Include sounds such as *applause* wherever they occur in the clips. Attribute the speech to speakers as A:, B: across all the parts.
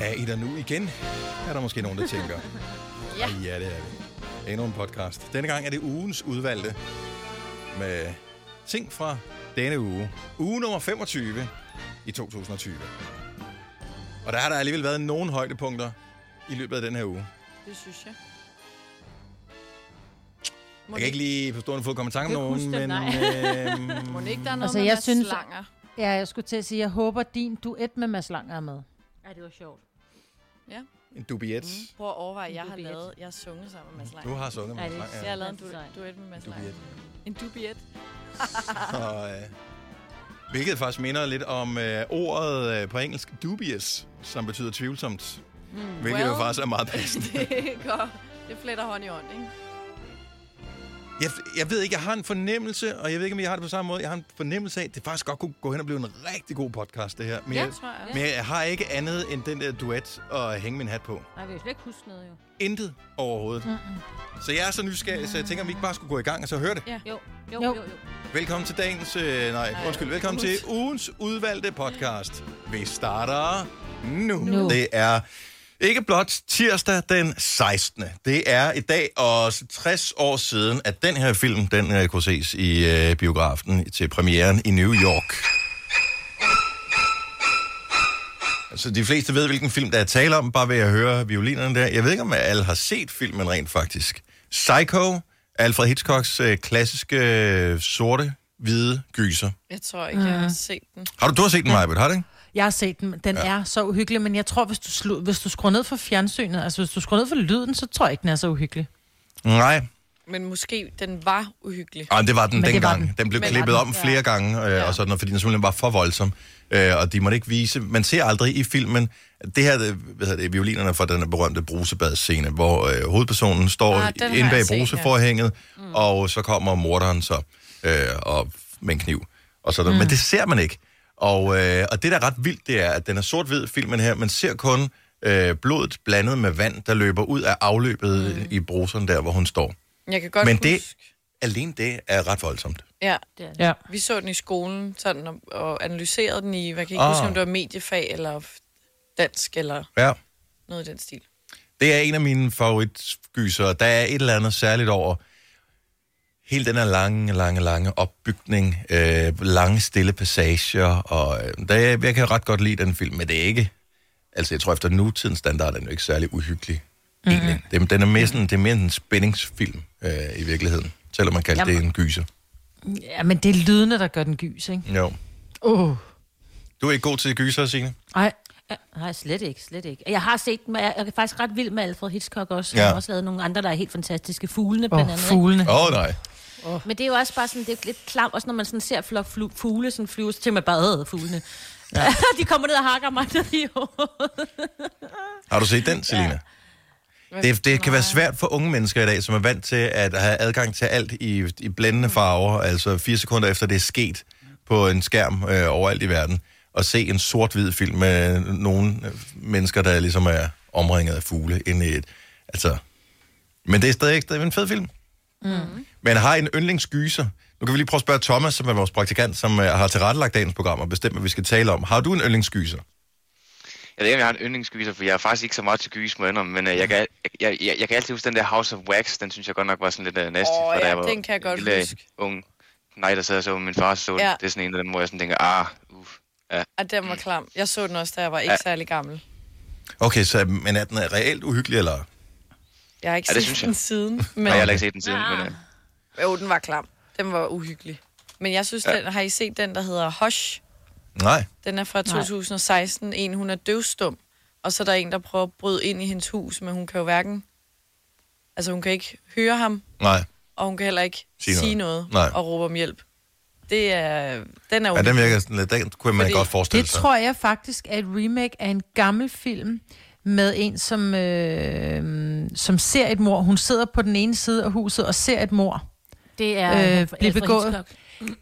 A: Er I der nu igen? Er der måske nogen, der tænker?
B: Ja.
A: Og ja, det er det. Endnu en podcast. Denne gang er det ugens udvalgte med ting fra denne uge. Uge nummer 25 i 2020. Og der har der alligevel været nogle højdepunkter i løbet af den her uge.
B: Det synes jeg.
A: Jeg kan ikke lige på stående fod komme i tanke om
B: Jeg kan
A: nogen,
B: ikke
A: men...
B: huske
A: Øh,
B: Må det ikke, der er noget altså,
C: Altså,
B: med
C: jeg
B: Mads
C: synes-
B: Langer?
C: Ja, jeg skulle til at sige, jeg håber, din duet med Mads Langer er med.
D: Ja, det var sjovt.
A: en dubiet.
B: Prøv at overveje, jeg
D: En
B: har
D: dubiet.
B: lavet, jeg har sunget sammen med Mads
A: Mm, Du
B: Langer.
A: har sunget med
D: Ej, det er
A: Mads Lang,
B: Jeg har lavet en
D: Mads Langer.
B: du- duet med Mads
A: En
B: Langer.
A: dubiet.
B: En dubiet. *laughs*
A: Og, øh, hvilket faktisk minder lidt om øh, ordet øh, på engelsk dubious, som betyder tvivlsomt.
D: Hmm,
A: Mm, hvilket well. jo
B: well.
A: faktisk er meget passende.
B: det går. Det fletter hånd i hånd, ikke?
A: Jeg, jeg ved ikke, jeg har en fornemmelse, og jeg ved ikke, om jeg har det på samme måde. Jeg har en fornemmelse af, at det faktisk godt kunne gå hen og blive en rigtig god podcast, det her. Men,
B: Ja,
A: jeg,
B: tror jeg.
A: men jeg har ikke andet end den der duet at hænge min hat på.
D: Nej, vi kan slet ikke huske noget, jo.
A: Intet overhovedet. Mm-mm. Så jeg er så nysgerrig, så jeg tænker, om vi ikke bare skulle gå i gang og så høre det.
D: Jo, jo,
C: Jo.
D: jo, jo. jo.
A: Velkommen til dagens... Øh, nej,
B: Nej,
A: undskyld. Velkommen
B: ugens.
A: til ugens udvalgte podcast. Vi starter nu.
C: Nu.
A: Det er ikke blot tirsdag den 16. Det er i dag også 60 år siden, at den her film, den øh, kunne ses i øh, biografen til premieren i New York. Altså, de fleste ved, hvilken film, der er tale om, bare ved at høre violinerne der. Jeg ved ikke, om alle har set filmen rent faktisk. Psycho, Alfred Hitchcocks øh, klassiske øh, sorte, hvide gyser.
B: Jeg tror ikke,
C: Ah.
B: jeg har set den.
A: Har du, du har set den, Majbet, har du ikke?
C: Jeg har set den, den ja. er så uhyggelig, men jeg tror, hvis du, slu, hvis du skruer ned for fjernsynet, altså hvis du skruer ned for lyden, så tror jeg ikke, den er så uhyggelig.
A: Nej.
B: Men måske den var uhyggelig.
A: Ej, men det var den
C: Men det var
A: dengang. Den.
C: den.
A: den blev
B: Men
A: klippet
B: var
A: om
B: den, ja.
A: flere gange, øh, og sådan noget, fordi den simpelthen var for voldsom. Øh, og de måtte ikke vise... Man ser aldrig i filmen... Det her, det, hvad hedder det, violinerne fra den berømte brusebadsscene, hvor øh, hovedpersonen står
B: Ah,
A: ah,
B: den har
A: inde bag
B: jeg set, ja.
A: bruseforhænget, mm. og så kommer morderen så øh, og med en kniv. Og sådan. Mm. Men det ser man ikke. Og, øh, og det, der er ret vildt, det er, at den er sort-hvid, filmen her. Man ser kun øh, blodet blandet med vand, der løber ud af afløbet mm. i bruseren der, hvor hun står.
B: Jeg kan godt
A: Men
B: huske.
A: det- Alene det er ret voldsomt.
B: Ja,
D: Det er det.
C: Ja.
B: vi så den i skolen sådan, og, og analyserede den i, hvad kan jeg ikke
A: Ah.
B: ah. huske, om det var mediefag eller f- dansk eller
A: Ja.
B: noget i den stil.
A: Det er en af mine favoritgyser. Der er et eller andet særligt over hele den her lange, lange, lange opbygning, øh, lange, stille passager, og øh, der, er- jeg kan ret godt lide den film, men det er ikke... Altså, jeg tror, efter nutidens standard er den jo ikke særlig uhyggelig. Mm. Den, den er mere sådan, det er mere en spændingsfilm øh, i virkeligheden, selvom man kalder det
C: Jamen.
A: en gyser.
C: ja, men det er lydene, der gør den gys, ikke?
A: Jo.
C: Åh, oh.
A: Du er ikke god til gyser, Signe?
C: ej.
D: Ja, Øh, Nej, slet ikke, slet ikke. Jeg har set den, og jeg jeg er faktisk ret vild med Alfred Hitchcock også.
A: Ja.
D: Ja. Han har også lavet nogle andre, der er helt fantastiske. Fuglene blandt
C: Åh,
D: andet. ikke?
C: fuglene.
A: Åh, oh, nej.
D: Men det er jo også bare sådan, det er lidt klam, også når man sådan ser flok flu- fugle sådan flyve, så tænker man bare, øh, fuglene. Ja. *laughs* de kommer ned og hakker mig ned i hovedet.
A: Har du set den, Selina? Ja. Det, det kan være svært for unge mennesker i dag, som er vant til at have adgang til alt i, i blændende farver, altså fire sekunder efter det er sket på en skærm øh, overalt i verden, og se en sort-hvid film med nogle øh, mennesker, der ligesom er omringet af fugle inde i et... Altså, men det er stadig, stadig en fed film. Mm. Men har en yndlingsgyser. Nu kan vi lige prøve at spørge Thomas, som er vores praktikant, som øh, har tilrettelagt dagens program og bestemt, hvad vi skal tale om. Har du en yndlingsgyser?
E: Jeg ved ikke, om jeg har en yndlingsgyser, for jeg er faktisk ikke så meget til gys, må jeg indrømme, men øh, jeg, kan, al- jeg, jeg, jeg kan altid huske den der House of Wax, den synes jeg godt nok var sådan lidt uh, nasty,
B: Åh,
E: for
B: ja,
E: da jeg var
B: den kan jeg godt
E: lille,
B: huske.
E: ung nej, der sad og så med min far så den.
B: Ja.
E: det er sådan en af dem, hvor jeg sådan tænker, ah, uff.
B: Og den var klam. Jeg så den også, da jeg var ikke ja. særlig gammel.
A: Okay, så men er den reelt uhyggelig, eller?
B: Jeg har ikke
E: Ja, det
B: set
E: synes
B: den
E: jeg.
B: siden.
E: Men...
B: Men...
E: Jeg har heller ikke set den siden,
B: Ah.
E: men uh,
B: Jo, den var klam. Den var uhyggelig. Men jeg synes, ja. den, har I set den, der hedder Hush?
A: Nej.
B: Den er fra 2016. En, hun er døvstum. Og så er der en, der prøver at bryde ind i hendes hus, men hun kan jo hverken... Altså, hun kan ikke høre ham,
A: Nej.
B: og hun kan heller ikke
A: Sige
B: sige
A: noget.
B: noget, sige noget
A: Nej.
B: og råbe om hjælp. Det er... Den er
A: Ja,
B: uhyggelig.
A: den virker sådan lidt, den kunne man
B: Fordi
A: godt forestille
C: Det
A: sig.
C: tror jeg faktisk er et remake af en gammel film med en, som, øh, som ser et mor. Hun sidder på den ene side af huset og ser et mor.
D: Det er
C: Øh,
D: Alfred
C: blev begået.
D: Hitchcock.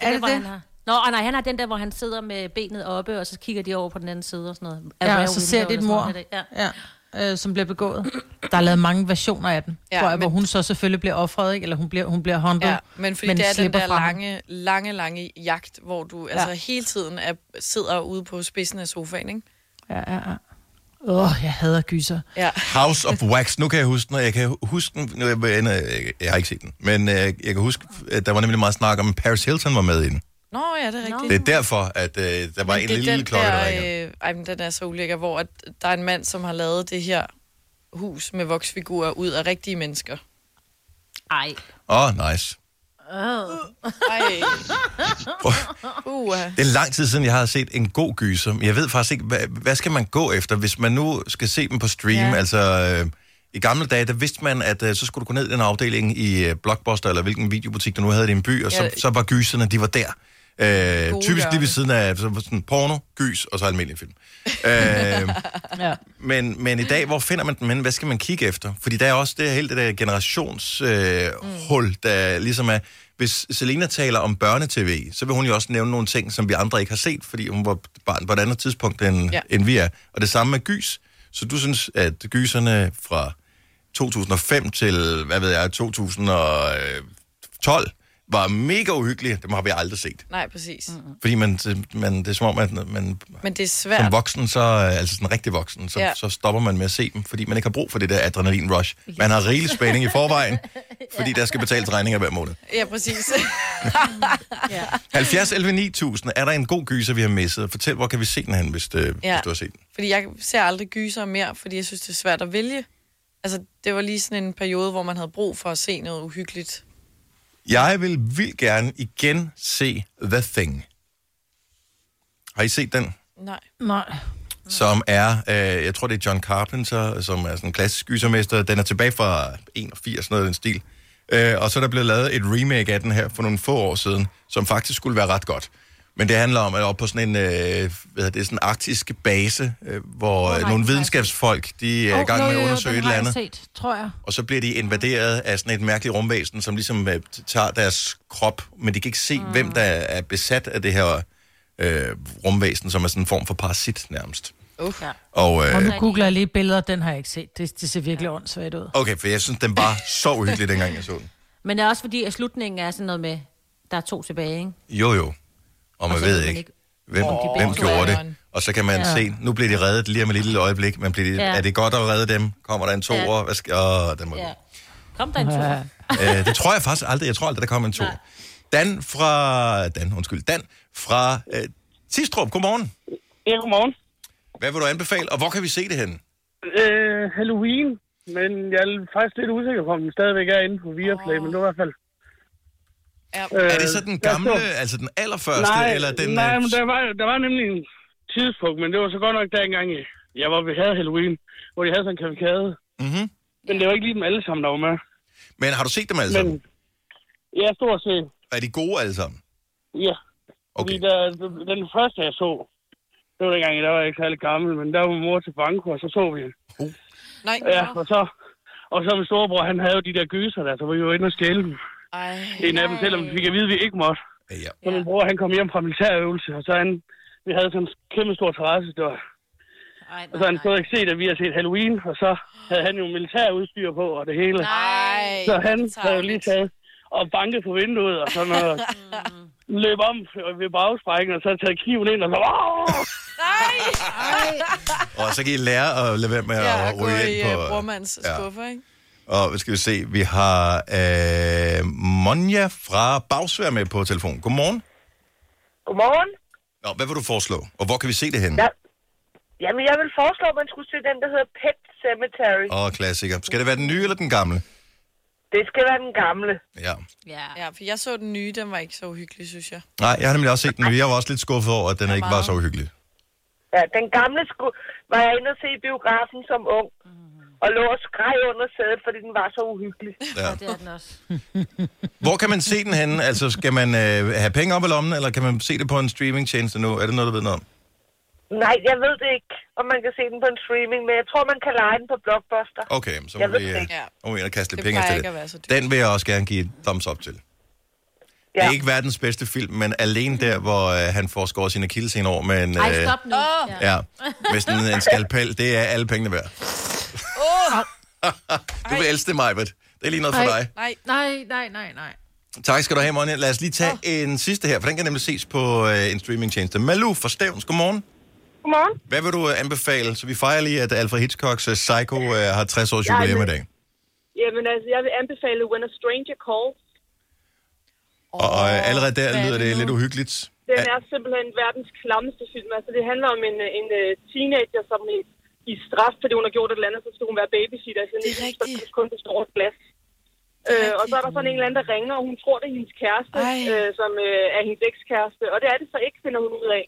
C: Er det
D: hvor Han
C: det?
D: har. Nå, og nej, han har den der, hvor han sidder med benet oppe, og så kigger de over på den anden side og sådan noget.
C: Ja,
D: Rare
C: og så ser
D: window
C: det et
D: eller sådan
C: mor,
D: noget, Ja.
C: ja. øh, som bliver begået. Der er lavet mange versioner af den,
B: Ja,
C: ja, tror jeg, hvor
B: men-
C: hun så selvfølgelig bliver offret, ikke? eller hun bliver, hun bliver håndtet.
B: Ja, men fordi men det er den
C: slipper
B: der
C: fra ham.
B: lange, lange, lange jagt, hvor du ja. altså hele tiden er, sidder ude på spidsen af sofaen, ikke?
C: Ja, ja, ja. Åh, oh, jeg hader gyser.
B: Ja.
A: House of Wax, nu kan jeg huske den, og jeg kan huske den, nu, jeg, jeg, jeg har ikke set den, men øh, jeg kan huske, at der var nemlig meget snak om, at Paris Hilton var med i den.
B: Nå, ja, det er rigtigt.
A: Det er derfor, at øh, der var en
B: Men det er
A: lille
B: den
A: klokke, der ringede.
B: der, øh, ej, men den er så ulækker, hvor at der er en mand, som har lavet det her hus med voksfigurer ud af rigtige mennesker.
D: Ej.
A: Åh,
B: øh-
A: oh, nice.
B: Ej. Uh,
A: Det er lang tid siden, jeg har set en god gyser. Men Jeg ved faktisk ikke, hvad, hvad skal man gå efter, hvis man nu skal se dem på stream? Ja.
B: Ja.
A: Altså, øh, i gamle dage, der vidste man, at øh, så skulle du gå ned i den afdeling i øh, Blockbuster, eller hvilken videobutik, der nu havde i din by, og så,
B: Ja.
A: så var gyserne, de var der. Øh,
B: Gode
A: typisk lige ved
B: hjørne.
A: siden af så var sådan porno, gys og så almindelig
B: *laughs*
A: film. Øh,
C: Ja.
A: men, men i dag, hvor finder man dem henne? Hvad skal man kigge efter? Fordi der er også det hele det der generationshul, øh, hul, der ligesom er... Hvis Selena taler om børnetv, så vil hun jo også nævne nogle ting, som vi andre ikke har set, fordi hun var barn på et andet tidspunkt, end, ja.
B: Ja.
A: end vi er. Og det samme med gys. Så du synes, at gyserne fra 2005 til, hvad ved jeg, 2012 var mega uhyggelige. Dem har vi aldrig set.
B: nej, præcis.
A: Fordi man, man, det er som om, at man
B: Men det er svært.
A: som voksen, så, øh, altså sådan rigtig voksen, så, ja.
B: Ja.
A: så stopper man med at se dem, fordi man ikke har brug for det der adrenalin-rush. Man har rigelig spænding i forvejen, fordi der skal betales regninger hver måned.
B: Ja, præcis.
A: 70 11 9000, er der en god gyser, vi har misset? Fortæl, hvor kan vi se den hen, hvis, øh, ja.
B: Ja.
A: hvis du har set den?
B: *laughs* Fordi jeg ser aldrig gyser mere, fordi jeg synes, det er svært at vælge. Altså, det var lige sådan en periode, hvor man havde brug for at se noget uhyggeligt.
A: Jeg vil vildt gerne igen se The Thing. Har I set den?
B: Nej.
C: Nej.
A: som er, øh, jeg tror det er John Carpenter, som er sådan en klassisk gysermester. Den er tilbage fra 81, noget af den stil. Øh, og så er der blevet lavet et remake af den her for nogle få år siden, som faktisk skulle være ret godt. Men det handler om, at oppe på sådan en, øh, hvad hedder det, sådan en arktisk base, øh, hvor oh, nogle videnskabsfolk, de er i gang med at undersøge et eller andet.
C: set, tror jeg.
A: Og så bliver de invaderet af sådan et mærkeligt rumvæsen, som ligesom øh, t- tager deres krop, men de kan ikke se, mm. hvem der er besat af det her øh, rumvæsen, som er sådan en form for parasit nærmest.
B: Uh. Ja.
A: Og, øh,
C: Og nu googler jeg lige billeder, den har jeg ikke set. Det, det ser virkelig ja. åndssvagt ud.
A: Okay, for jeg synes, den var så uhyggelig, dengang jeg så den.
D: Men det er også fordi, at slutningen er sådan noget med, der er to tilbage, ikke?
A: Jo, jo. Og man
D: så
A: ved
D: ved man
A: ikke,
D: ikke,
A: hvem,
B: om de
A: hvem
B: begge to
A: gjorde
B: er
A: det.
B: børn.
A: Og så kan man ja. se, nu bliver de reddet lige om et lille øjeblik, men bliver de, ja.
D: Ja.
A: er det godt at redde dem? Kommer der en toer? Ja.
D: Ja.
A: Hvad skal... Åh, den må...
D: Ja.
A: ja.
D: Kom der en tur.
C: Ja.
A: øh, det tror jeg faktisk aldrig. Jeg tror aldrig, der kommer en toer. Dan fra... Dan, undskyld. Dan fra øh, Tistrup. Godmorgen.
F: Ja, godmorgen.
A: Hvad vil du anbefale, og hvor kan vi se det henne?
F: Øh, Halloween, men jeg er faktisk lidt usikker på, om den stadigvæk er inde på Viaplay, oh. men det var i hvert fald...
B: Ja.
F: Øh,
A: Er det så den
F: jeg
A: gamle,
F: så-
A: altså den allerførste,
F: nej,
A: eller den...
F: Nej,
A: øh,
F: men der var, der var nemlig en tidspunkt, men det var så godt nok dengang, jeg- jeg var ved havde Halloween, hvor de havde sådan en kavakade.
A: Mhm.
F: Men det var ikke lige dem alle sammen, der var med.
A: Men har du set dem alle
F: Men
A: sammen?
F: ja, stort set,
A: Er de gode alle sammen?
F: ja. Fordi
A: Okay.
F: der, den første, jeg så, det var dengang, der var jeg ikke særlig gammel, men der var min mor til banko, og så så vi den.
B: Nej.
F: Ja, og så... Og så min storebror, han havde jo de der gyser der, så var vi jo inde og stjæle dem.
B: Ej.
F: En af dem, selvom vi fik at vide, at vi ikke måtte.
A: Ja.
F: Så min bror, han kom hjem fra militærøvelse, og så han, vi havde sådan en kæmpe stor terrasse, der,
D: Ej,
F: og så han stadig ikke set, at vi har set Halloween, og så havde han jo militærudstyr på og det hele.
B: Ej.
F: så han havde jo
B: tarveligt.
F: lige taget og banket på vinduet, og så når løb om ved bagsprækken, og så taget kniven ind, og så... Åh!
B: Nej.
A: Og så kan I lære at lade være med at
B: Ja, og gå
A: ryge
B: i
A: ind på...
B: uh, brormands
A: ja.
B: ja. skuffer, ikke?
A: Og hvad skal vi se, vi har øh, Monja fra Bagsvær med på telefon. Godmorgen.
G: Godmorgen.
A: Nå, hvad vil du foreslå, og hvor kan vi se det henne?
G: Ja. Jamen, jeg vil foreslå, at man skulle se den, der hedder Pet Cemetery.
A: Åh, klassiker. Skal det være den nye eller den gamle?
G: Det skal være den gamle.
A: Ja.
D: Ja.
B: Ja, for jeg så den nye, den var ikke så uhyggelig, synes jeg.
A: Nej, jeg har nemlig også set den nye. Jeg var også lidt skuffet over, at den ikke var så uhyggelig.
G: Ja, den gamle sku- var jeg inde og se i biografen som ung. Og lå og skreg under sædet, fordi den var så uhyggelig.
D: ja, det er den også.
A: Hvor kan man se den henne? Altså, skal man øh, have penge op i lommen, eller kan man se det på en streamingtjeneste nu? Er det noget, du ved noget om?
G: Nej, jeg ved det ikke, om man kan se den på en streaming, men jeg tror, man kan lege den på Blockbuster.
A: Okay, så
G: Jeg
A: må
G: ved
A: vi
G: det
A: øh,
G: ikke.
B: Ja.
A: må vi ind og kaste lidt
B: Det
A: penge
B: plejer
A: efter
B: ikke at være så
A: det.
B: dyrt.
A: Den vil jeg også gerne give et thumbs up til. Det
G: Ja.
A: er ikke verdens bedste film, men alene der, hvor øh, han får skåret sine kildesener over med en...
D: Ej,
A: øh,
D: stop nu.
B: Åh.
D: Ja.
A: Ja, med sådan en skalpel, det er alle pengene værd. *laughs* du vil elske det, Majbert. Det er lige noget for
C: Ej.
A: dig.
B: Nej.
C: Nej, nej, nej, nej.
A: Tak skal du have, Monja. Lad os lige tage en sidste her, for den kan nemlig ses på øh, en streamingtjeneste. Malou fra Stævns, godmorgen.
G: Godmorgen.
A: Hvad vil du øh, anbefale? Så vi fejrer lige, at Alfred Hitchcocks øh, Psycho øh, har 60 års jubilæum i dag.
H: Jamen altså, jeg vil anbefale When a Stranger Calls.
A: Og, og øh, allerede
B: Hvad
A: der
B: er
A: lyder
B: det
A: det
B: nu?
A: lidt uhyggeligt.
H: Den er simpelthen verdens klammeste film. Altså, det handler om en, øh, en øh, teenager, som i, i straf, fordi hun har gjort et eller andet, så skal hun være babysitter. Så
B: Det er rigtigt.
H: Så kun består af et glas. Øh, og så er der sådan en eller anden, der ringer, og hun tror, det er hendes kæreste,
B: Ej.
H: øh, som øh, er hendes ekskæreste. Og det er det så ikke, finder hun ud af.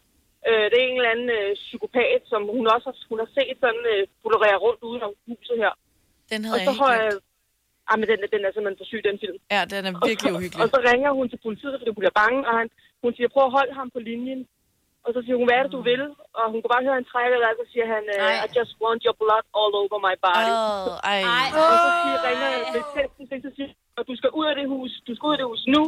H: Øh, det er en eller anden øh, psykopat, som hun også har, hun har set sådan øh, florere rundt ude om huset her.
B: Den
H: Og
B: havde
H: så
B: jeg
H: har
B: helt
H: jeg...
B: glemt.
H: Ah, men den, er- den er simpelthen for syg, den film.
B: Ja, den er
H: Og
B: virkelig
H: så-
B: uhyggelig.
H: Og så ringer hun til politiet, fordi hun bliver bange, og han, hun siger, prøv at holde ham på linjen. Og så siger hun, hvad er det, du vil? Og hun kan bare høre, at han trækker vejret, og så siger han, øh,
D: Nej.
H: I just want your blood all over my body.
B: Åh, ej.
D: Ej.
H: Og så siger, ringer betjenten til, så siger og du skal ud af det hus, du skal ud af det hus nu,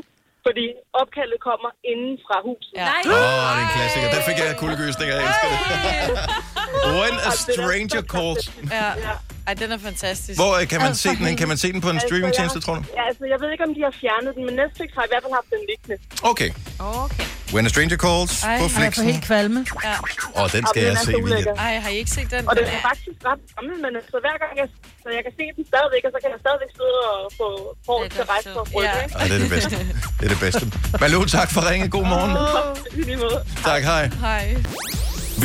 H: fordi opkaldet kommer inden fra huset.
B: Ja.
D: Nej.
A: Åh, oh, det er en klassiker. Den fik jeg kuldegysninger. Jeg elsker det. When a Stranger Calls.
B: Ja. Ej, den er fantastisk.
A: Hvor øh, kan man se den? Kan man se den på en
H: Altså,
A: streamingtjeneste,
H: jeg-
A: tror du?
H: Ja, altså, jeg ved ikke, om de har fjernet den, men Netflix har i hvert fald haft den liggende.
A: Okay.
D: Okay.
A: When a Stranger Calls
B: Ej,
A: på
B: han
C: Og jeg får
A: Flixen.
C: helt kvalme.
A: Åh, den skal
H: Jamen, den
A: jeg
H: altså, er så
A: se i weekenden.
H: ulækker.
B: Ej, har I ikke set den?
H: Og den
B: Den
H: er
B: er-
H: faktisk ret gammel, men altså, hver gang jeg, så jeg kan se den stadigvæk, og så kan jeg stadigvæk sidde og få hår
D: Det er
H: til
D: godt
H: rejse
D: så.
H: på ryggen.
B: Ja.
H: ikke?
A: Ej, det er det bedste. Det er det bedste. Malu, tak for ringe. God morgen.
H: I lige måde.
A: Tak, hej.
B: Hej.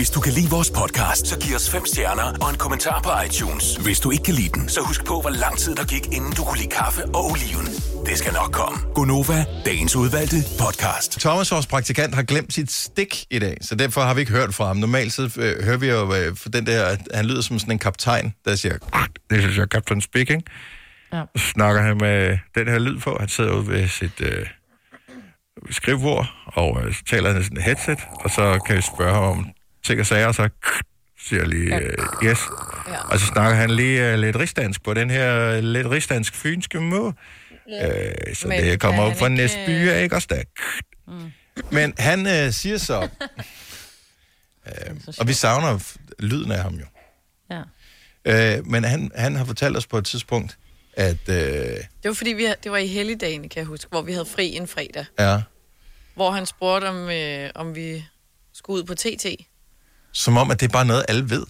I: Hvis du kan lide vores podcast, så giv os fem stjerner og en kommentar på iTunes. Hvis du ikke kan lide den, så husk på, hvor lang tid der gik, inden du kunne lide kaffe og oliven. Det skal nok komme. Gonova, dagens udvalgte podcast.
A: Thomas, vores praktikant, har glemt sit stik i dag, så derfor har vi ikke hørt fra ham. Normalt så øh, hører vi jo øh, for den der, at han lyder som sådan en kaptajn, der siger, "Ah, det er jeg kaptajn speaking.
C: Ja.
A: Så Snakker han med den her lyd på, han sidder ude ved sit øh, skrivebord, og øh, så taler han i sådan et headset, og så kan vi spørge ham om ting og sager, og så siger lige, øh, yes. Ja. Og så snakker han lige øh, lidt rigsdansk på den her øh, lidt rigsdansk fynske måde. Øh, så
B: Men
A: det kommer
B: kan han
A: op fra
B: ikke, øh, Mm.
A: næste by, ikke også der? Men han øh, siger
B: *laughs*
A: så, øh, og vi savner f- lyden af ham jo.
D: Ja.
A: Øh, men han, han har fortalt os på et tidspunkt, at øh,
B: Det var fordi, vi, det var i helligdagen, kan jeg huske, hvor vi havde fri en fredag.
A: ja,
B: Hvor han spurgte, om, øh, om vi skulle ud på TT.
A: som om, at det er bare noget, alle ved.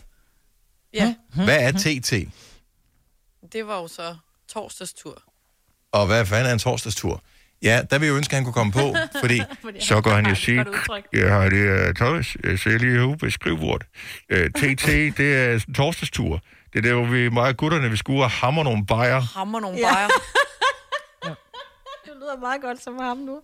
B: Ja,
A: Hvad er
B: mhm.
A: TT?
B: det var jo så torsdagstur.
A: Og hvad fanden er en torsdagstur? Ja, der vil jeg ønske, at han kunne komme på, fordi så går han jo sige, jeg har det uh, Thomas, jeg ser lige herude på skrivebordet. Uh, TT, det er sådan en torsdagstur. Det er der, hvor vi meget gutterne, vi skulle ud og hammer nogle bajer.
B: Hammer nogle ja. bajer.
D: Det lyder meget godt som ham nu.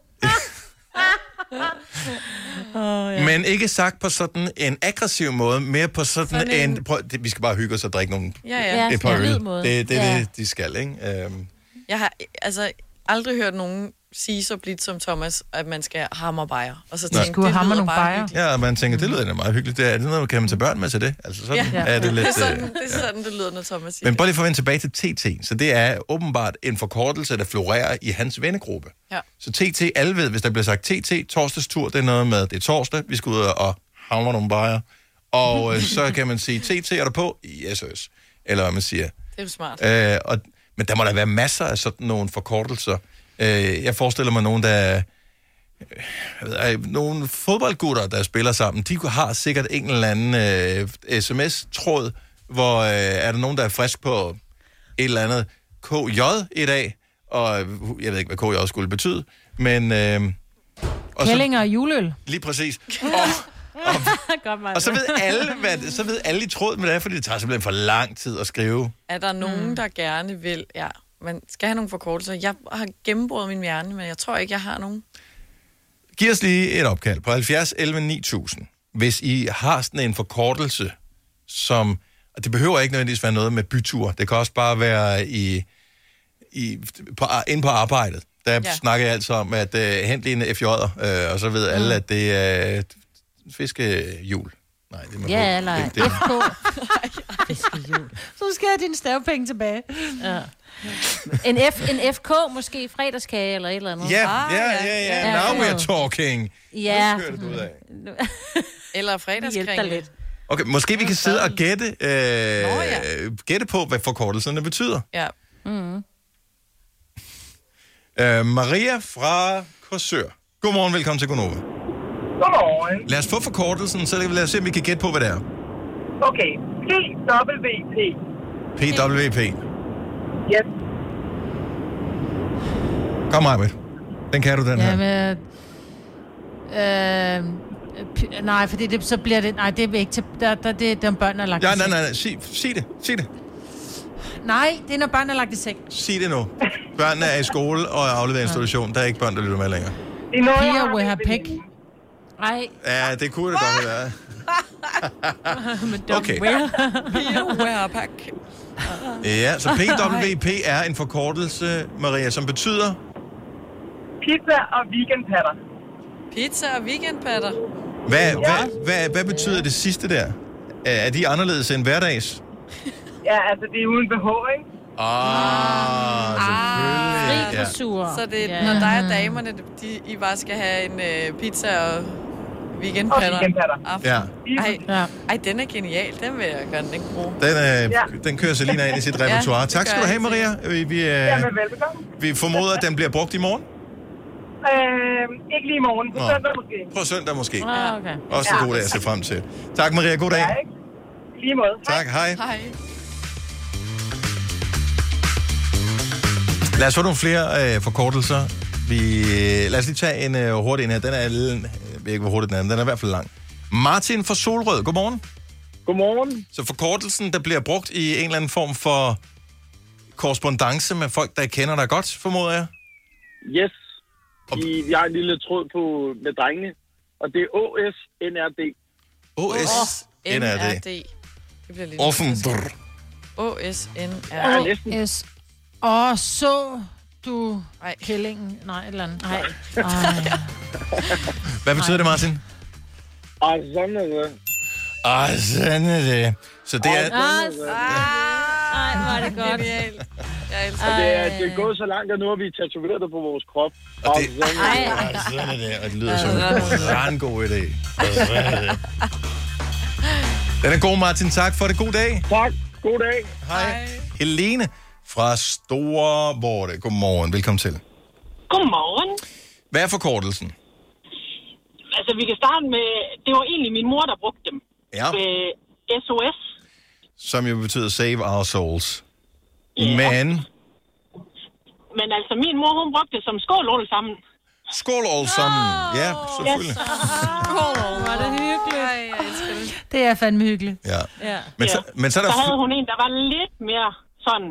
A: Men ikke sagt på sådan en aggressiv måde, mere på sådan, sådan
B: Sådan
A: en...
B: en-
A: en prøv, det, vi skal bare hygge os og drikke nogle...
B: Ja, ja.
D: Ja.
A: et par
D: sådan en
A: øl.
D: blid måde.
A: Det, det er
D: Ja.
A: det, de skal, ikke? Øhm,
B: Jeg har øh, altså aldrig hørt nogen sige så blidt som Thomas, at man skal hammer bajer. Og så tænke,
C: Skulle
B: det
C: hamre
B: lyder
C: nogle
B: bare
C: bajer.
B: hyggeligt.
A: ja, og man tænker, det lyder da meget hyggeligt. Det er, er det noget, kan man tage børn med til det? Altså sådan ja.
B: Ja.
A: er det lidt...
B: Det er *laughs* sådan,
A: øh,
B: det, er sådan det lyder, når Thomas siger
A: Men
B: det.
A: bare lige for at vende tilbage til TT, så det er åbenbart en forkortelse, der florerer i hans vennegruppe.
B: Ja.
A: Så TT, alle ved, hvis der bliver sagt TT, torsdagstur, det er noget med, det er torsdag, vi skal ud og hamre nogle bajer. Og øh, så kan man sige, TT er der på? Yes, yes. Eller hvad man siger.
B: Det er jo smart.
A: Øh, og, men der må da være masser af sådan nogle forkortelser. Øh, jeg forestiller mig nogen, der er- øh, jeg ved, ej, nogle fodboldgutter, der spiller sammen, de har sikkert en eller anden øh, sms-tråd, hvor øh, er der nogen, der er frisk på et eller andet KJ i dag, og øh, jeg ved ikke, hvad KJ skulle betyde, men... Øh, og så,
C: Kællinger og juleøl.
A: lige præcis. Og,
D: *laughs* godt, mig.
A: og så ved alle, hvad, så ved alle i tråd med det er, fordi det tager simpelthen for lang tid at skrive.
B: Er der nogen, mm. der gerne vil... Ja, man skal have nogle forkortelser. Jeg har gennembrudt min hjerne, men jeg tror ikke, jeg har nogen.
A: Giv os lige et opkald på 70 11 9000. Hvis I har sådan en forkortelse, som... Og det behøver ikke nødvendigvis være noget med bytur. Det kan også bare være i, i, på, inde på arbejdet. Der ja.
B: Ja.
A: snakker jeg altså om, at øh, hent lige en FJ'er, øh, og så ved
D: Mm.
A: alle, at det er et fiskehjul. Nej, det må
D: Ja, eller
A: det, det,
D: *laughs* FK.
C: Så skal jeg have dine stavepenge tilbage.
D: En, F, en FK måske fredagskage eller et eller andet.
A: Ja, ja, ja, ja.
D: Ah, ja.
A: Now we're talking.
D: ja.
A: Kører det ud af.
B: Eller
D: Hjælp dig
B: fredagskring.
D: lidt.
A: Okay, måske vi kan sidde og gætte, øh,
B: ja.
A: gætte på, hvad forkortelserne betyder.
B: Ja.
A: Øh, Maria fra Korsør. Godmorgen, velkommen til Gonova.
J: Godmorgen.
A: Lad os få forkortelsen, så lad os se, om vi kan gætte på, hvad det er.
J: Okay, PWP.
A: PWP.
J: Yes.
A: Kom, Majbrit. Den kan du, den her.
C: Jamen, øh, p- nej, fordi det, så bliver det... Nej, det er ikke til... Der, der, det er, dem børn er lagt
A: Ja,
C: i
A: nej,
C: seng.
A: nej, nej. Sig, sig det. Sig det.
C: Nej, det er, når børn er lagt i seng.
A: Sig det nu. Børnene er i skole og er afleveret i institution. Der er ikke børn, der lytter med længere.
J: I Norge
C: Piger
J: har
C: will
J: vi
C: have
J: en
C: pæk.
D: Nej,
A: Ja, det kunne det godt have været. Okay.
B: Wearpack.
A: Ja, så PWP er en forkortelse, Maria, som betyder...
J: Pizza og weekendpatter.
B: Pizza og weekendpatter.
A: Hvad, hvad, hvad, hvad betyder det sidste der? Er er de anderledes end hverdags?
J: Ja, altså det er uden behov, ikke?
A: Ah, selvfølgelig.
D: ja.
A: Ja.
D: sur.
B: Så det er,
D: ja.
B: når dig og damerne, de, I bare skal have en øh, pizza og
J: Og
B: weekendpatter.
J: weekendpatter.
B: aften.
A: Ja,
B: Ej,
C: Ja.
B: ej, den er genial. Den vil jeg godt ikke bruge.
A: den, øh,
J: Ja.
A: den kører Selina ind i sit repertoire.
B: Ja,
A: Ja,
B: det
A: tak skal
B: gør
A: du have,
B: jeg
A: Maria. Vi, vi, øh,
J: Jamen, velbekomme.
A: vi formoder, at den bliver brugt i morgen.
J: Øh, ikke lige i morgen. På
A: Nå.
J: søndag måske.
A: På søndag måske.
D: Ah, okay.
A: Også en god dag at se frem til. Tak, Maria. God dag.
J: Ja, ikke? I Lige måde. Hej.
A: Tak, hej.
B: Hej.
A: Lad os få nogle flere øh, forkortelser. Vi, øh, lad os lige tage en øh, hurtig en her. Den er, l- jeg ved ikke, hvor hurtig den er, men den er i hvert fald lang. Martin fra Solrød, godmorgen.
K: Godmorgen.
A: Så forkortelsen, der bliver brugt i en eller anden form for korrespondence med folk, der kender dig godt, formoder jeg.
K: Yes.
A: Og-
K: I, vi har en lille tråd på med drengene. Og det er OSNRD.
A: OS. NRD.
B: NRD. Det bliver lidt...
A: Offenbrr.
K: Ja,
B: OSNR.
K: næsten.
C: Yes. Og så du
B: Ej.
C: kællingen. Nej, et eller andet. Nej.
A: Hvad betyder det, Martin?
K: Og sådan er det.
A: Ah, sådan er det. Så det er...
D: Ah,
B: Ej,
D: hvor er det godt.
B: Ah, Genialt. Jeg elsker
K: Og det er, det er gået så langt, at nu har vi tatoveret det på vores krop.
A: Og
K: Og
A: det-
K: sådan er det.
A: Ah, sådan er det. Og det lyder som en ret god idé. Sådan er det. Den er god, Martin. Tak for det. God dag.
K: Tak. God dag.
A: Hej. Helene fra Store Vorte. Godmorgen, velkommen til.
G: Godmorgen.
A: Hvad er forkortelsen?
G: Altså, vi kan starte med... Det var egentlig min mor, der brugte dem.
A: Ja,
G: Øh, SOS.
A: som jo betyder Save Our Souls. Men,
G: Men altså, min mor, hun brugte det som skål alle sammen.
A: skål all sammen. Ja, selvfølgelig.
D: hvor er det hyggeligt.
B: Ej, jeg elsker det.
C: Det er fandme hyggeligt.
A: Ja.
D: Ja.
A: Men, så, men så er der...
G: Så havde hun en, der var lidt mere sådan...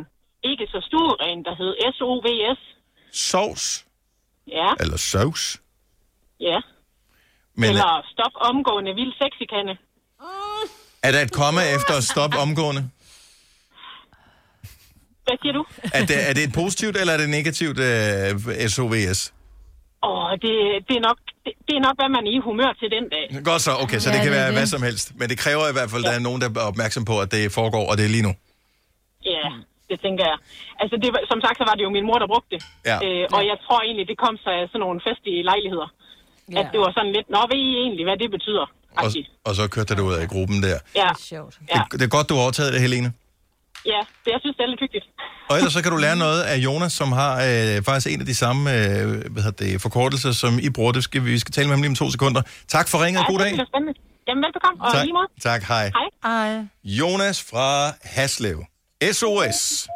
G: Ikke så stueren, der hed SOVS.
A: Sovs,
G: Ja,
A: eller sovs.
G: ja.
A: Men
G: Eller stop omgående vild sexikane.
A: er der et komma efter at stoppe omgående?
G: Hvad siger
D: *laughs*
G: du?
A: Er det, er det et positivt, eller er det negativt øh, SOVS?
G: Åh, det, det, er nok, det, det er nok, hvad man er i humør til den dag.
A: Godt så, okay, så
C: Ja,
A: det kan
C: det er
A: være
C: det.
A: hvad som helst. Men det kræver i hvert fald, at der er nogen, der er opmærksom på, at det foregår, og det er lige nu.
G: Ja, det tænker jeg. Altså, det, var- som sagt, så var det jo min mor, der brugte det.
A: Ja.
G: Øh, og jeg tror egentlig, det kom sig af sådan nogle festlige lejligheder. Ja. At det var sådan lidt, nå, ved I egentlig, hvad det betyder?
A: Og,
G: Agtigt.
A: og så kørte det ud af gruppen der.
G: Ja,
D: Sjovt.
G: ja,
A: Det, det er godt, du har overtaget det, Helene.
G: ja. Det, jeg synes, det er lidt hyggeligt.
A: Og ellers så kan du
G: Mm.
A: lære noget af Jonas, som har øh, faktisk en af de samme øh, hvad hedder det, forkortelser, som I bruger. Det skal, vi skal tale med ham lige om to sekunder. Tak for ringet.
G: Ja,
A: God
G: det
A: dag.
G: bliver spændende. Jamen, velbekomme. Og
A: Tak,
G: lige måde.
A: tak hej.
G: Hej.
C: Ej.
A: Jonas fra Haslev. SOS.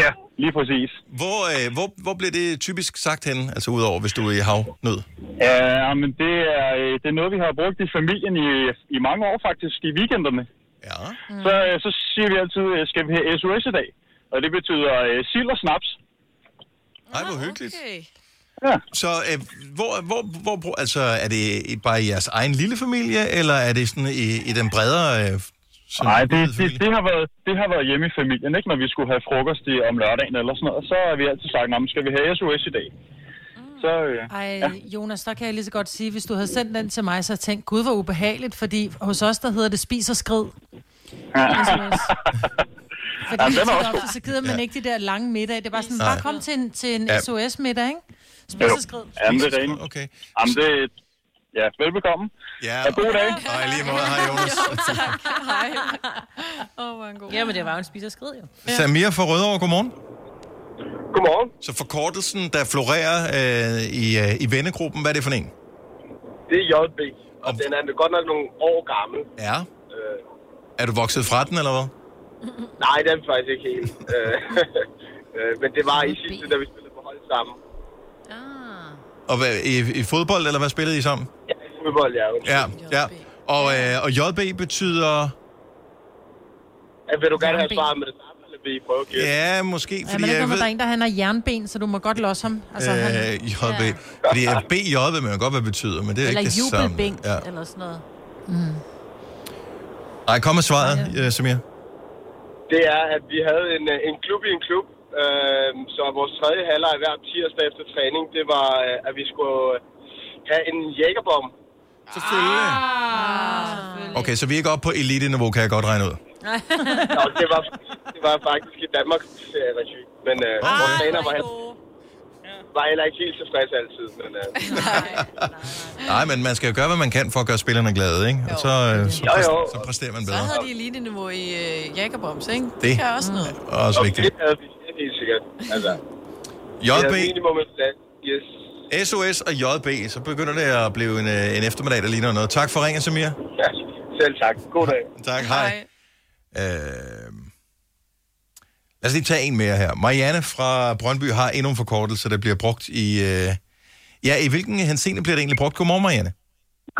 K: Ja, lige præcis.
A: Hvor, øh, hvor, hvor bliver det typisk sagt henne? Altså udover, hvis du er i havnød.
K: Ja, men det er, øh, det er noget, vi har brugt i familien i, i mange år faktisk, i weekenderne.
A: Ja.
K: Mm. Så, øh, så siger vi altid, øh, skal vi have SOS i dag? Og det betyder øh, sild og snaps.
A: Ej, hvor hyggeligt.
B: Okay.
A: Så øh, hvor, hvor, hvor, hvor, altså, er det i- bare i jeres egen lille familie, eller er det sådan i, i den bredere... Øh, sådan
K: Nej, det, det,
A: familie?
K: det, har været, det har været hjemme i familien, ikke? Når vi skulle have frokost i, om lørdagen eller sådan noget, så har vi altid sagt, "Nå, men skal vi have SOS i dag? Så, øh,
C: Ej, Jonas, der kan jeg lige så godt sige, hvis du havde sendt den til mig, så tænkte gud, hvor ubehageligt, fordi hos os, der hedder det spis og
A: *laughs*
C: skrid. SOS. Fordi
K: Jamen,
C: Jamen,
K: den er
C: så,
K: også god.
C: ofte, så gider man ikke de der lange middag. Det er bare sådan,
A: Nej.
C: bare kom til en, til en
A: Ja.
C: SOS-middag, ikke? Spis
K: Jo.
C: og skrid.
K: jamen, det er rent.
A: Okay.
K: Jamen, det, ja, velbekomme.
A: Ja,
K: Ja, god dag.
A: og, og i lige
C: *laughs*
A: måde, hej Jonas.
B: Hej. Åh, oh, hvor er en god.
D: Jamen, det var jo en spiser skrid, jo.
A: Samir fra Rødovre, godmorgen.
K: Godmorgen.
A: Så forkortelsen, der florerer øh, i, øh, i vennegruppen, hvad er det for en?
L: Det er JB, og den er godt nok nogle år gammel.
A: Ja.
L: Øh,
A: Er du vokset fra den, eller hvad?
L: nej, det er den faktisk ikke helt. Øh, *laughs* øh, men det var i sidste, da vi spillede på hold sammen.
A: Og hvad, i, i fodbold, eller hvad spillede I sammen?
L: Fodbold, ja.
A: Ja, ja. Og, øh, og JB betyder...
L: Øh, Vil du gerne have svaret med det samme, eller vil I prøve at give?
A: Ja, måske,
C: Ja,
A: fordi
C: men der
A: jeg
C: kommer
A: ved...
C: der en, der han har jernben, så du må godt losse ham. Altså, øh, han,
A: Øh, JB. Fordi at BJ ved man jo godt, hvad det betyder, men det er
C: eller
A: ikke det samme.
C: jubelbænk,
A: Ja.
C: ja. eller sådan noget.
A: Ej, kom med svaret, ja. Samir.
L: Det er, at vi havde en, øh, en klub i en klub, øh, så vores tredje halvleg hver tirsdag efter træning, det var, øh, at vi skulle øh, have en jægerbom.
A: Selvfølgelig. Ah, Okay, så vi er ikke oppe på elite-niveau, kan jeg godt regne ud.
L: Nå, det var, det var faktisk i Danmarks øh, regi, men øh,
J: Ah,
L: vores træner var, heller, var heller ikke helt tilfreds altid. Men, øh,
A: Nej, men man skal jo gøre, hvad man kan for at gøre spillerne glade, ikke? Og så, øh, så,
L: Jo, jo.
A: præsterer, så præsterer man
B: Så
A: bedre.
B: havde de elite-niveau i øh, Jacoboms, ikke? Det,
A: Det.
B: det kan
D: Mm.
B: også noget.
A: Og også vigtigt.
L: Det havde vi det er helt sikkert. Altså, det
A: JB,
L: er minimum et slag. Yes.
A: SOS og JB, så begynder det at blive en, øh, en eftermiddag, der ligner noget. Tak for ringen, Samir.
L: Ja, selv tak. God
K: *laughs*
L: dag.
A: Tak, hej. Øh, lad os lige tage en mere her. Marianne fra Brøndby har endnu en forkortelse, der bliver brugt i... Øh, ja, i hvilken henseende bliver det egentlig brugt? Godmorgen, Marianne.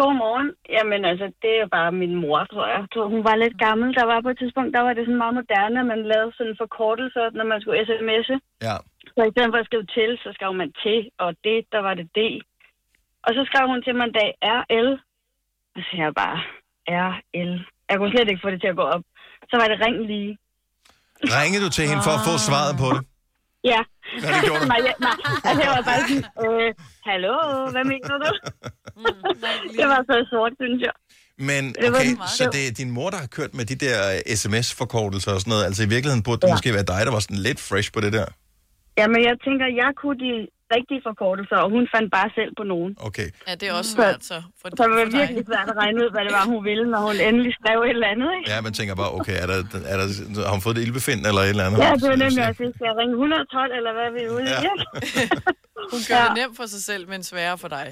M: Godmorgen. Jamen altså, det er bare min mor, tror jeg. Jeg Tror, hun var lidt gammel. Der var på et tidspunkt, der var det sådan meget moderne, at man lavede sådan forkortelser, når man skulle sms'e.
A: Ja.
M: Så i stedet for at skrive til, så skrev man til, og det, der var det D. Og så skrev hun til mig en dag RL. Og så sagde jeg bare, RL. Jeg kunne slet ikke få det til at gå op. Så var det ring lige.
A: Ringede du til hende for at få svaret på det?
M: Ja.
A: Ja, det gjorde du.
M: *laughs* nej, ja, nej, altså, jeg var bare sådan, øh, hallo, hvad mener du? det var så sort, synes jeg.
A: Men
M: Det var
A: okay,
M: den meget.
A: så det er din mor, der har kørt med de der øh, sms-forkortelser og sådan noget. Altså i virkeligheden burde det ja. måske være dig, der var sådan lidt fresh på det der.
M: Jamen, jeg tænker, jeg kunne de rigtige forkortelser, og hun fandt bare selv på nogen.
A: Okay.
B: Ja, det er også svært, så. For,
M: Så det var virkelig svært at regne ud, hvad det var, hun ville, når hun endelig skrev et eller andet, ikke?
A: Ja, man tænker bare, okay, er der, er der, har hun fået et ildbefind eller et eller andet?
M: Ja, det var nemlig også, skal jeg ringe 112, eller hvad er vi ude i?
A: Ja.
M: Ja.
B: *laughs* Hun gør det nemt for sig selv, men sværere for dig.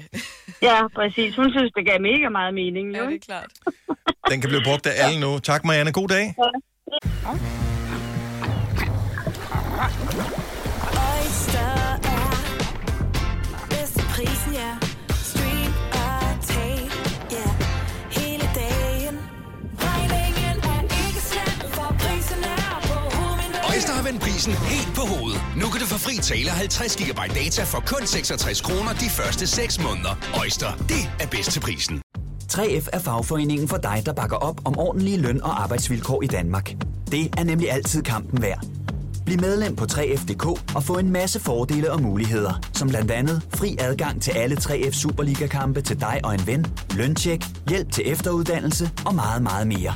M: ja, præcis. Hun synes, det gav mega meget mening, jo.
B: Ja, det er klart.
A: Den kan blive brugt af alle nu. Tak, Marianne. God dag.
N: Oyster er bedst til prisen, ja. Stream og tag, ja. Hele dagen. Regningen er ikke slem, for prisen er på
I: Øjster har vendt prisen helt på hovedet. Nu kan du få fri tale 50 GB data for kun 66 kroner de første 6 måneder. Øjster, det er bedst til prisen.
O: 3F er fagforeningen for dig, der bakker op om ordentlige løn- og arbejdsvilkår i Danmark. Det er nemlig altid kampen værd. Bliv medlem på 3F.dk og få en masse fordele og muligheder, som blandt andet fri adgang til alle 3F Superliga-kampe til dig og en ven, løntjek, hjælp til efteruddannelse og meget, meget mere.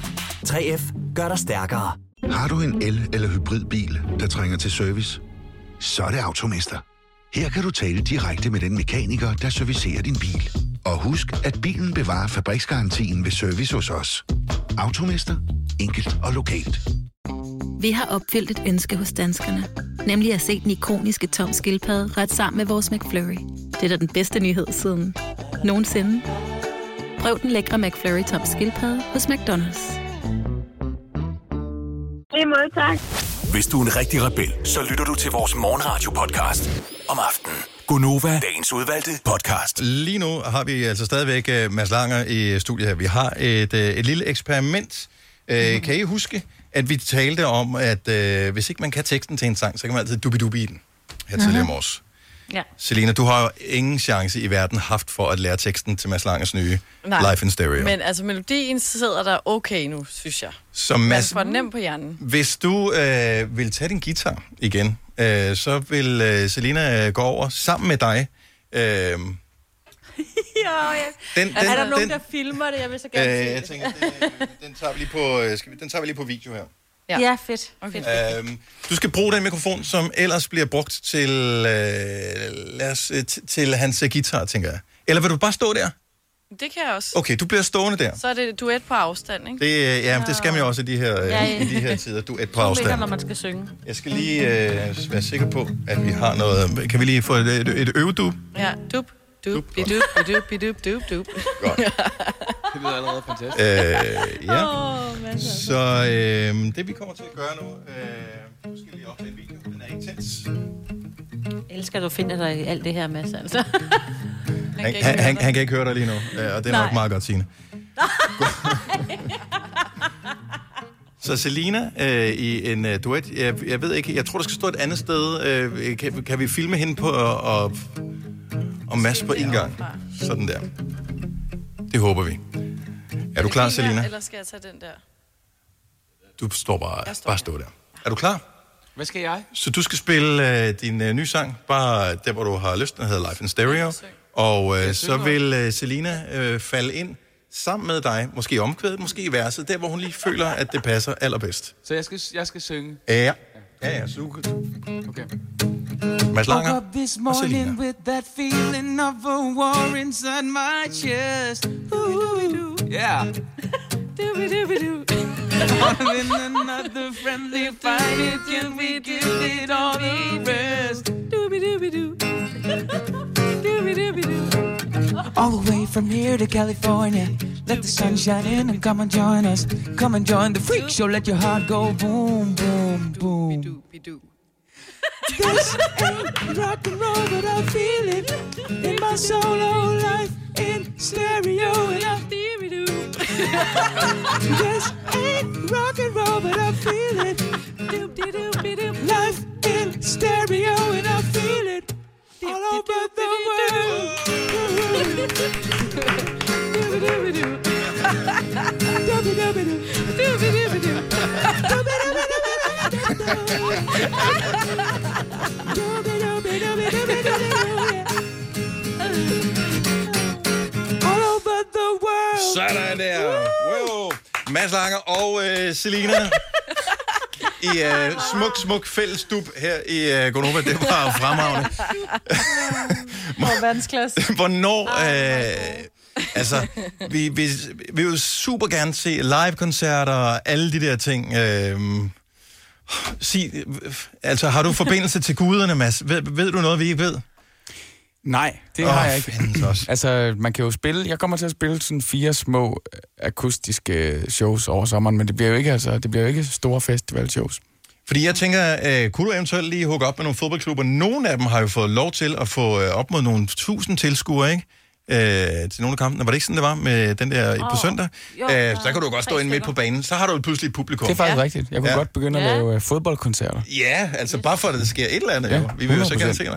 O: 3F gør dig stærkere.
P: Har du en el- eller hybridbil, der trænger til service? Så er det Automester. Her kan du tale direkte med den mekaniker, der servicerer din bil. Og husk, at bilen bevarer fabriksgarantien ved service hos os. Automester. Enkelt og lokalt.
Q: Vi har opfyldt et ønske hos danskerne. Nemlig at se den ikoniske tom skildpadde ret sammen med vores McFlurry. Det er da den bedste nyhed siden nogensinde. Prøv den lækre McFlurry tom skildpadde hos McDonald's.
M: Lige måde, tak.
I: Hvis du er en rigtig rebel, så lytter du til vores morgenradio-podcast om aftenen. Gunova, dagens udvalgte podcast.
A: Lige nu har vi altså stadigvæk øh, Mads Langer i studiet her. Vi har et, øh, et lille eksperiment.
D: Mm.
A: Øh, Kan I huske, at vi talte om, at øh, hvis ikke man kan teksten til en sang, så kan man altid dubidubi i den her tidligere
J: Mhm.
A: om års.
D: Ja.
A: Selina, du har jo ingen chance i verden haft for at lære teksten til Mads Langers nye Nej. Life in Stereo. Men...
B: Men altså, melodien sidder der okay nu, synes jeg.
A: Så Mads,
B: Man får den nem på hjernen.
A: Hvis du øh, vil tage din guitar igen, øh, så vil øh, Selina øh, gå over sammen med dig. Øh, øh,
D: *laughs* ja, ja.
A: Den-
D: er,
A: den-
D: der nogen,
A: den-
D: der filmer det? Jeg vil så gerne se
A: jeg
D: det.
A: tænker, den, øh, den, tager vi lige på, øh, skal vi, den tager vi lige på video her.
D: Ja, ja fedt. Okay. fedt.
A: Øhm, du skal bruge den mikrofon, som ellers bliver brugt til, øh, lad os, øh, t- til hans øh, guitar, tænker jeg. Eller vil du bare stå der?
B: Det kan jeg også.
A: Okay, du bliver stående der.
B: Så er det duet på afstand, ikke?
A: Det, øh, ja, det skal man jo også i de her, øh,
B: Ja, ja.
A: i de her tider. Du et på
D: To meter,
A: afstand.
D: når man skal synge.
A: Jeg skal øh, lige øh, være sikker på, at vi har noget... Kan vi lige få et, et, et øvedub?
B: Ja, dup, Dup, bidup, bidup, bidup, dup, dup.
A: Godt.
J: Det lyder allerede fantastisk.
A: Øh, ja.
B: Åh, masser af
A: Så øh, det vi kommer til at gøre nu, øh, nu skal jeg lige optage en video, den er intens.
D: Jeg elsker, at du finder dig i alt det her, Mads, altså. *laughs*
A: Han, han, han, han kan ikke høre dig lige nu, øh, og det er
D: Nej.
A: nok meget godt, Signe. Så Selina øh, i en øh, duet, jeg, jeg ved ikke, jeg tror, der skal stå et andet sted. Øh, kan, kan vi filme hende på og, og, og Mads på en gang? Sådan der. Det håber vi. Er du klar, Selina?
B: Eller skal jeg tage den der?
A: Du står bare, bare stå der. Er du klar?
J: Hvad skal jeg?
A: Så du skal spille øh, din øh, nye sang, bare der, hvor du har lyst. Den hedder Life in Stereo. Og øh, så vil øh, Selina øh, falde ind sammen med dig, måske i omkvædet, måske i verset, der, hvor hun lige føler, at det passer allerbedst.
J: Så jeg skal, jeg skal synge.
A: Ja. Ja, ja, super.
J: Okay.
A: Mads
J: Woke
A: Langer
J: up this
A: og Selina.
J: morning with that feeling of a war inside my chest. Ooh, yeah. More than another friendly fight, it can we give it all the rest? All the way from here to California. Let the sun shine in and come and join us. Come and join the freak show. Let your heart go boom, boom, boom. This ain't rock and roll, but I feel it in my soul. Oh, life in stereo, and I feel it. This ain't rock and roll, but I feel it. Life in stereo, and I feel it all over the
A: All over the world. Sådan der. Wow. Mads Langer og øh, Selina i øh, smuk, smuk fælles dub her i øh, Gonova. Det var fremragende.
C: Hvor verdensklasse.
A: Hvornår... Øh, altså, vi, vi, vi vil super gerne se live-koncerter og alle de der ting. Øh, sig, altså, har du forbindelse til guderne, Mads? Ved, ved du noget, vi ikke ved?
J: Nej, det
A: Åh,
J: oh, har jeg ikke.
A: Også.
J: altså, man kan jo spille... Jeg kommer til at spille sådan fire små øh, akustiske øh, shows over sommeren, men det bliver jo ikke, altså, det bliver jo ikke store festivalshows.
A: Fordi jeg tænker, øh, kunne du eventuelt lige hugge op med nogle fodboldklubber? Nogle af dem har jo fået lov til at få øh, op mod nogle tusind tilskuere, ikke? Øh, til nogle af kampene. Var det ikke sådan, det var med den der oh, på
J: Åh,
A: søndag?
J: jo,
A: øh,
J: der
A: så kan du jo godt stå inde midt på banen. Så har du jo pludselig et publikum.
J: Det er faktisk ja. rigtigt. Jeg kunne ja. godt begynde at lave øh, fodboldkoncerter.
A: Ja, altså bare for, at der sker et eller andet.
J: Ja,
A: Ja, jo. Vi vil jo så gerne
J: 100%.
A: se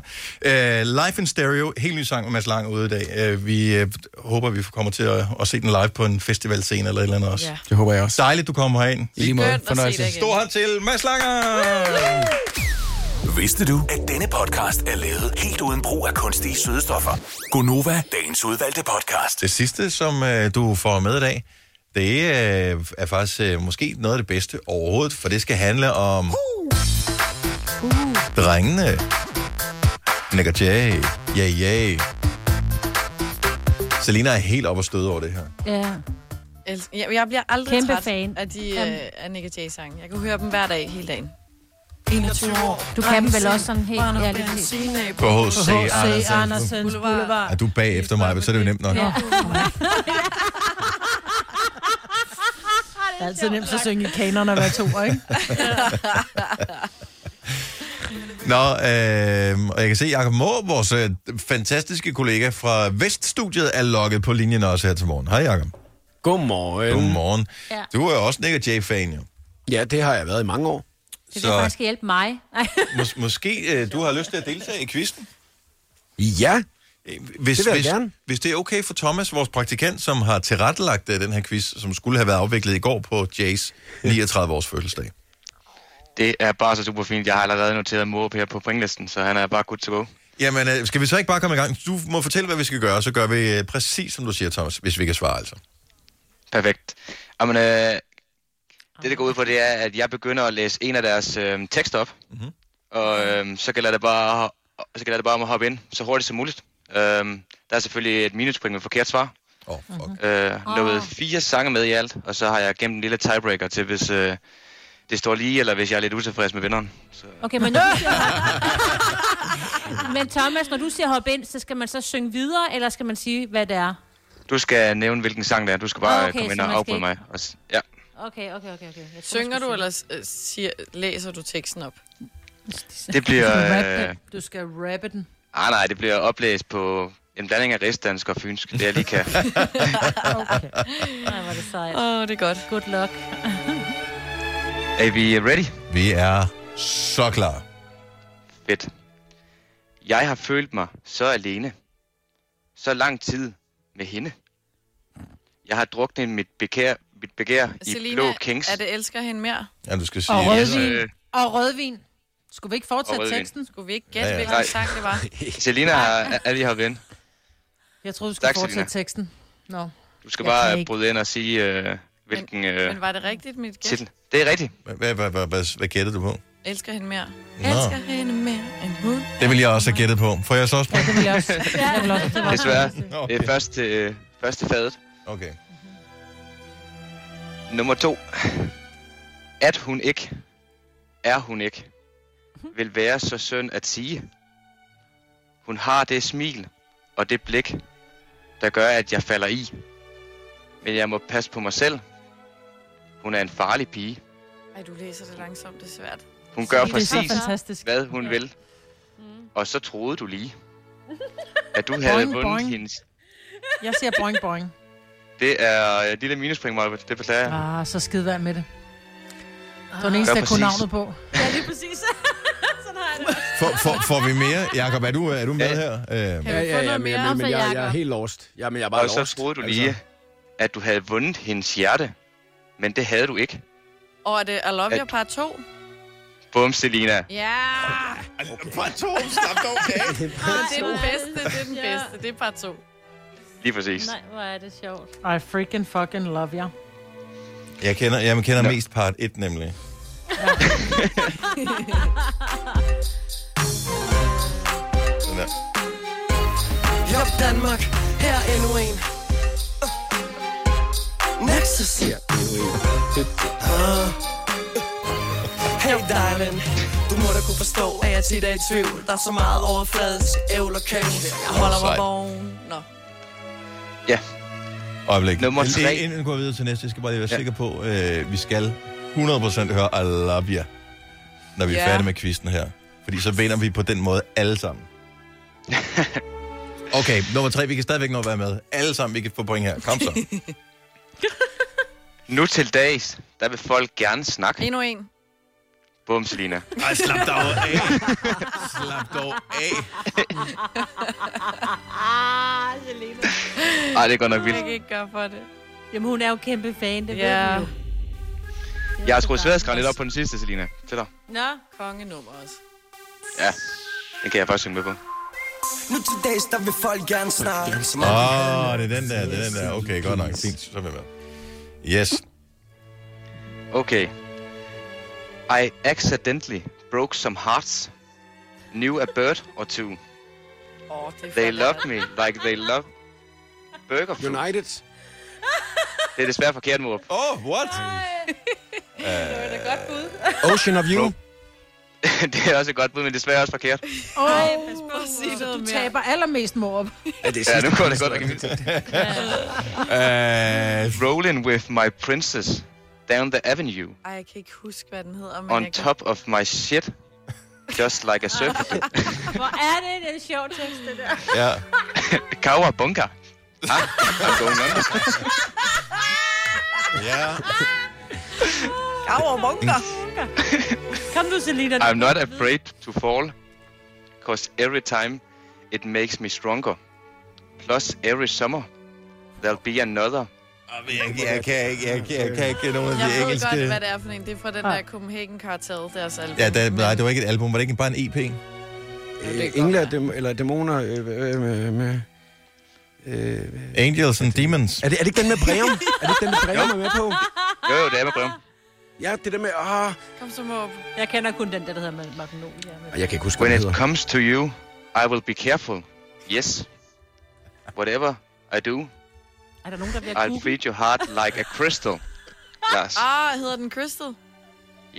A: dig. Uh, live in Stereo, helt ny sang med Mads Lang ude i dag. Uh, vi uh, håber, vi kommer til at, at se den live på en festivalscene eller et eller andet også.
J: Ja. Det håber jeg også.
A: Dejligt, du kommer herind.
J: I lige måde. Skønt at se Fornøjelse. dig igen.
A: Stor hånd til Mads Langer!
I: Vidste du, at denne podcast er lavet helt uden brug af kunstige sødestoffer?
A: Gonova,
I: Dagens udvalgte podcast.
A: Det sidste, som øh, du får med i dag, det øh, er faktisk øh, måske noget af det bedste overhovedet, for det skal handle om drengene. Nick og Jay. Ja, ja. Selina er helt oppe og støde over det her.
D: Ja.
B: Elsk- Jeg, jeg bliver aldrig
D: Kæmpe
B: træt
D: fan.
B: af de
D: Kom.
B: øh, af Nick Jay-sange. Jeg kunne høre dem hver dag, hele dagen.
D: 21 år. Du kan dem vel også sådan helt... Ja, lige præcis.
A: På H.C. Andersens
D: Andersens Boulevard.
A: Er du er bagefter mig, så er det jo nemt nok.
D: Ja.
C: Det er altid nemt at synge i kanerne og være to,
A: *laughs*
C: ikke?
A: Nå, øh, og jeg kan se, at Jacob Må, vores øh, fantastiske kollega fra Veststudiet, er logget på linjen også her til morgen. Hej, Jacob.
K: Godmorgen.
A: Godmorgen. Ja. Du er jo også Nick og Jay-fan, jo.
K: Ja, det har jeg været i mange år.
D: Det vil
A: Så-
D: faktisk hjælpe mig. Nej. *laughs*
A: Mås- måske øh, du har lyst til at deltage i quizzen?
K: Ja.
A: Hvis,
K: Det vil jeg
A: hvis,
K: gerne.
A: hvis det er okay for Thomas, vores praktikant, som har tilrettelagt øh, den her quiz, som skulle have været afviklet i går på Jays 39-års fødselsdag.
E: Det er bare så super fint. Jeg har allerede noteret Måb her på pointlisten, så han er bare good to go.
A: Jamen, øh, skal vi så ikke bare komme i gang? Du må fortælle, hvad vi skal gøre, så gør vi øh, præcis, som du siger, Thomas, hvis vi kan svare, altså.
E: Perfekt. Jamen, øh, det, det går ud på, det er, at jeg begynder at læse en af deres øh, tekster op, mm-hmm. og øh, så gælder det bare så gælder det bare om at hoppe ind så hurtigt som muligt. Øh, der er selvfølgelig et minuspoint med forkert svar.
A: Oh,
E: fuck.
D: Ah.
E: Øh,
R: Åh.
E: lovet fire sange med i alt, og så har jeg gemt en lille tiebreaker til, hvis øh, det står lige, eller hvis jeg er lidt utilfreds med vinderen.
D: Okay, men nu... *laughs* Men Thomas, når du siger hop ind, så skal man så synge videre, eller skal man sige, hvad det er?
E: Du skal nævne, hvilken sang det er. Du skal bare
D: Ah, okay,
E: okay, komme ind
D: så
E: og
D: man skal
E: afbryde mig.
D: ikke-
E: Og s- ja.
D: Okay, okay, okay. okay. Jeg tror,
B: Synger
D: man
B: du,
D: skal sige-
B: eller øh, siger, læser du teksten op?
E: Det
D: *laughs*
E: bliver...
C: Du skal rappe
E: Øh, ah,
C: den. Du skal rappe den.
E: nej, nej, det bliver oplæst på en blanding af rigsdansk og fynsk. Det jeg lige kan.
D: Nej, hvor er det sejt.
B: Åh, oh, det er godt.
D: Good luck.
E: er vi ready?
A: Vi er så klar.
E: Fedt. Jeg har følt mig så alene. Så lang tid med hende. Jeg har druknet mit begær, mit begær i blå kings.
B: er det elsker hende mere?
A: Ja, du skal
C: Og
E: Øh,
C: rødvin. Og rødvin. Skulle vi ikke
E: Og
C: fortsætte
E: rødvin.
C: teksten?
B: Skulle vi ikke
E: Ja, ja.
B: hvilken
E: Nej.
B: sang det
E: *laughs*
B: var?
E: Selina er, er- er lige hoppet ind.
C: Jeg troede, vi skulle
E: Tak, Selina.
C: fortsætte teksten. Nå.
E: Du skal
C: Jeg kan
E: bare
C: ikke.
E: bryde ind og sige, øh, hvilken øh,
B: Men var det rigtigt, mit gæt?
E: titel. Det er rigtigt.
A: Hvad, hvad, hvad, hvad, hvad gættede du på?
B: Elsker hende mere.
A: Nå.
B: Elsker hende mere end hun.
A: Det ville jeg også have gættet på. Får jeg så også på?
C: Det vil jeg
E: *laughs*
C: også. Jeg vil også.
B: var-
E: Desværre. Det er første, øh, første fadet.
A: Okay.
E: Nummer to. At hun ikke, er hun ikke, vil være så synd at sige. Hun har det smil og det blik, der gør, at jeg falder i. Men jeg må passe på mig selv. Hun er en farlig pige.
B: Ej, du læser det langsomt, det er svært.
E: Hun gør
B: Det er så
E: præcis,
B: fantastisk.
E: hvad hun vil. Og så troede du lige, at du havde
C: Boing,
E: vundet
C: boing.
E: hendes...
C: Jeg siger boing boing.
E: Det er øh, et lille minuspring, Marvitt. Det beklager jeg.
C: Ah, så skid være med det. Du er den eneste,
E: Gør
C: der kunne navnet
E: præcis.
C: på.
D: Ja, lige *laughs* præcis. Sådan har jeg det.
A: Får, får, får vi mere? Jakob, er du, er du med her? Øh,
K: Ja, ja, ja, men,
D: mere
K: jeg, men
D: for
K: jeg, jeg er
D: Jakob?
K: helt lost. Ja, men jeg er bare
E: Og
K: lost.
E: så
K: Altså,
E: troede du
F: Altså.
E: lige, at du havde vundet hendes hjerte. Men det havde du ikke.
B: Og er det I Love
E: Ja.
B: You part 2?
E: Bum, Selina.
B: Ja!
A: Part 2? Stop dog, okay.
B: det er den bedste, det er den bedste. Det er part 2.
E: Lige præcis.
D: Nej, hvor er det sjovt.
C: I freaking fucking love jer.
A: Jeg kender, jeg kender mest part 1, nemlig. Sådan der.
R: Jop Danmark, her er endnu en. Nexus. Ja, Ah. Hey darling, du må da kunne forstå, at jeg tit er i tvivl. Der er så meget overfladisk ævl og kæv. Jeg holder mig
A: Sejt.
R: vågen. Nå.
A: Øjeblik.
E: Nummer
A: Inden-
E: tre.
A: Inden vi går videre til næste, jeg skal bare lige være sikker på, øh, vi skal 100% høre I love you, når vi er
B: Ja.
A: færdige med kvisten her. Fordi så vinder vi på den måde alle *laughs* sammen. Okay, nummer tre, vi kan stadigvæk nå at være med. Alle sammen, vi kan få point her. Kom så.
E: Nu til dags, der vil folk gerne snakke.
B: Endnu en.
E: Bum, Selina.
A: *laughs* Ej, slap dog af. Slap dog af.
D: Ah, Selena.
E: Ej, det er godt
B: Jeg
E: nok
B: kan
E: vildt.
B: ikke gøre for det.
D: Jamen, hun er jo kæmpe fan, det
B: Ja.
D: ved hun jo.
E: Jeg har skruet sværdskræn lidt op på den sidste, Selina. Til dig.
D: Nå.
B: Kongenummer også.
E: Ja, det kan jeg faktisk synge med på.
R: Nu til dags, der vil folk gerne snakke. Som om de
A: Åh,
R: kan.
A: oh, det er den der, det er den der. Okay, godt nok. Fint, så er vi med. Yes.
E: Okay. I accidentally broke some hearts. Knew a bird or two.
B: Åh, det er
E: They
B: flot,
E: loved me like they love burger food. United. Det er desværre forkert, mor.
A: Oh, what? *laughs* Øh,
E: Uh,
D: Godt bud.
K: Ocean of You.
E: *laughs* det er også et godt bud, men desværre også forkert.
C: Åh, oh, du taber allermest mor op.
K: Ja, det
E: Ja, nu går det godt. nok imod.
A: Øh,
E: Rolling with my princess down the avenue
B: Ej, jeg kan ikke huske, hvad den hedder. Men
E: on
B: jeg
E: top of my shit. Just like a
B: Ah.
E: *laughs* surfer.
D: Hvor er det, det er en sjov tekst, det der.
A: Ja.
E: Kawabunga. Ah, *laughs* I'm going under.
A: Ja.
B: Gav bunker.
D: Kom nu, Selina. nu
E: I'm
D: går
E: not
D: vi videre.
E: afraid to fall. Cause every time it makes me stronger. Plus every summer there'll be another.
A: Jeg, jeg, kan ikke, jeg, kan, jeg kan ikke nogen af
B: Jeg
A: de
B: ved
A: engelske...
B: godt, hvad det er for en. Det er fra
D: Ah.
B: den der Copenhagen Cartel, deres album.
A: Ja, der, nej, det var ikke et album. Var det ikke bare en E EP?
K: Øh, Engle og dæm- eller dæmoner øh, øh, med... med øh,
A: Angels and Demons.
K: er, det, er det ikke den med *laughs* Breum? er det ikke den med Breum er med på?
E: Jo, jo, det er med brev.
B: Ah.
K: Ja, det der med... Ah,
B: Kom så, Måb.
D: Jeg kender kun den der, der hedder Magnolia. men-
K: jeg kan ikke huske,
E: When
K: hvad
E: it
K: den hedder.
E: comes to you, I will be careful. Yes. Whatever I do,
D: Er der nogen, der bliver
E: I'll
D: kugle?
E: treat your heart like a crystal. Lars.
B: Ah, hedder den Crystal?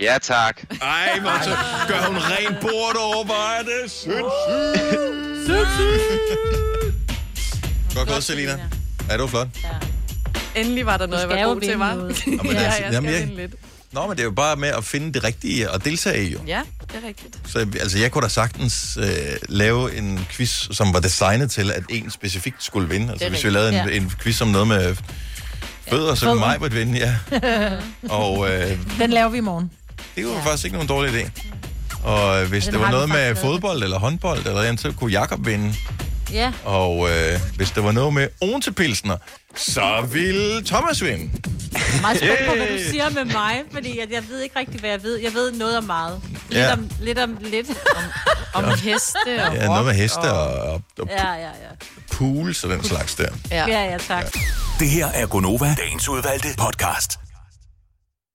E: Ja, tak.
A: Ej, hvor så gør hun rent bord over, hvor er det sindssygt. Godt gået, Selina. Ja, det var flot.
B: Endelig var der noget, jeg
D: skal
B: var
D: jo
B: god til,
D: vinde
B: var.
D: noget.
B: *laughs*
D: *laughs*
B: ja, jeg skal
A: Jamen, jeg-
B: vinde lidt.
A: Nå, men det er jo bare med at finde det rigtige og deltage i, jo.
B: Ja, det er rigtigt.
A: Så altså, jeg kunne da sagtens øh, lave en quiz, som var designet til, at en specifikt skulle vinde. Altså,
B: Det er
A: hvis vi
B: rigtigt,
A: lavede en,
B: ja.
A: en quiz som noget med fødder, så ville
C: Fødder.
A: mig vinde, ja. Og øh,
C: Den laver vi i morgen.
A: det var faktisk ikke nogen dårlig idé. Og øh, hvis
C: Den
A: det var
C: har vi
A: noget med
C: faktisk lavet.
A: fodbold eller håndbold, eller andet, så kunne Jakob vinde.
C: Ja.
A: Og øh, hvis der var noget med Ontepilsner, så ville Thomas vinde.
D: meget spændt på, hvad
A: Yay!
D: du siger med mig, fordi jeg, jeg ved ikke rigtig, hvad jeg ved. Jeg ved noget om meget. Lidt
A: Ja.
D: om lidt. Om, lidt. Om, *laughs*
B: om heste og
A: Ja, noget med heste og, og, og
D: Ja, ja, ja.
A: pools og den slags der.
D: Ja, ja, tak.
I: Det her er Gonova, dagens udvalgte podcast.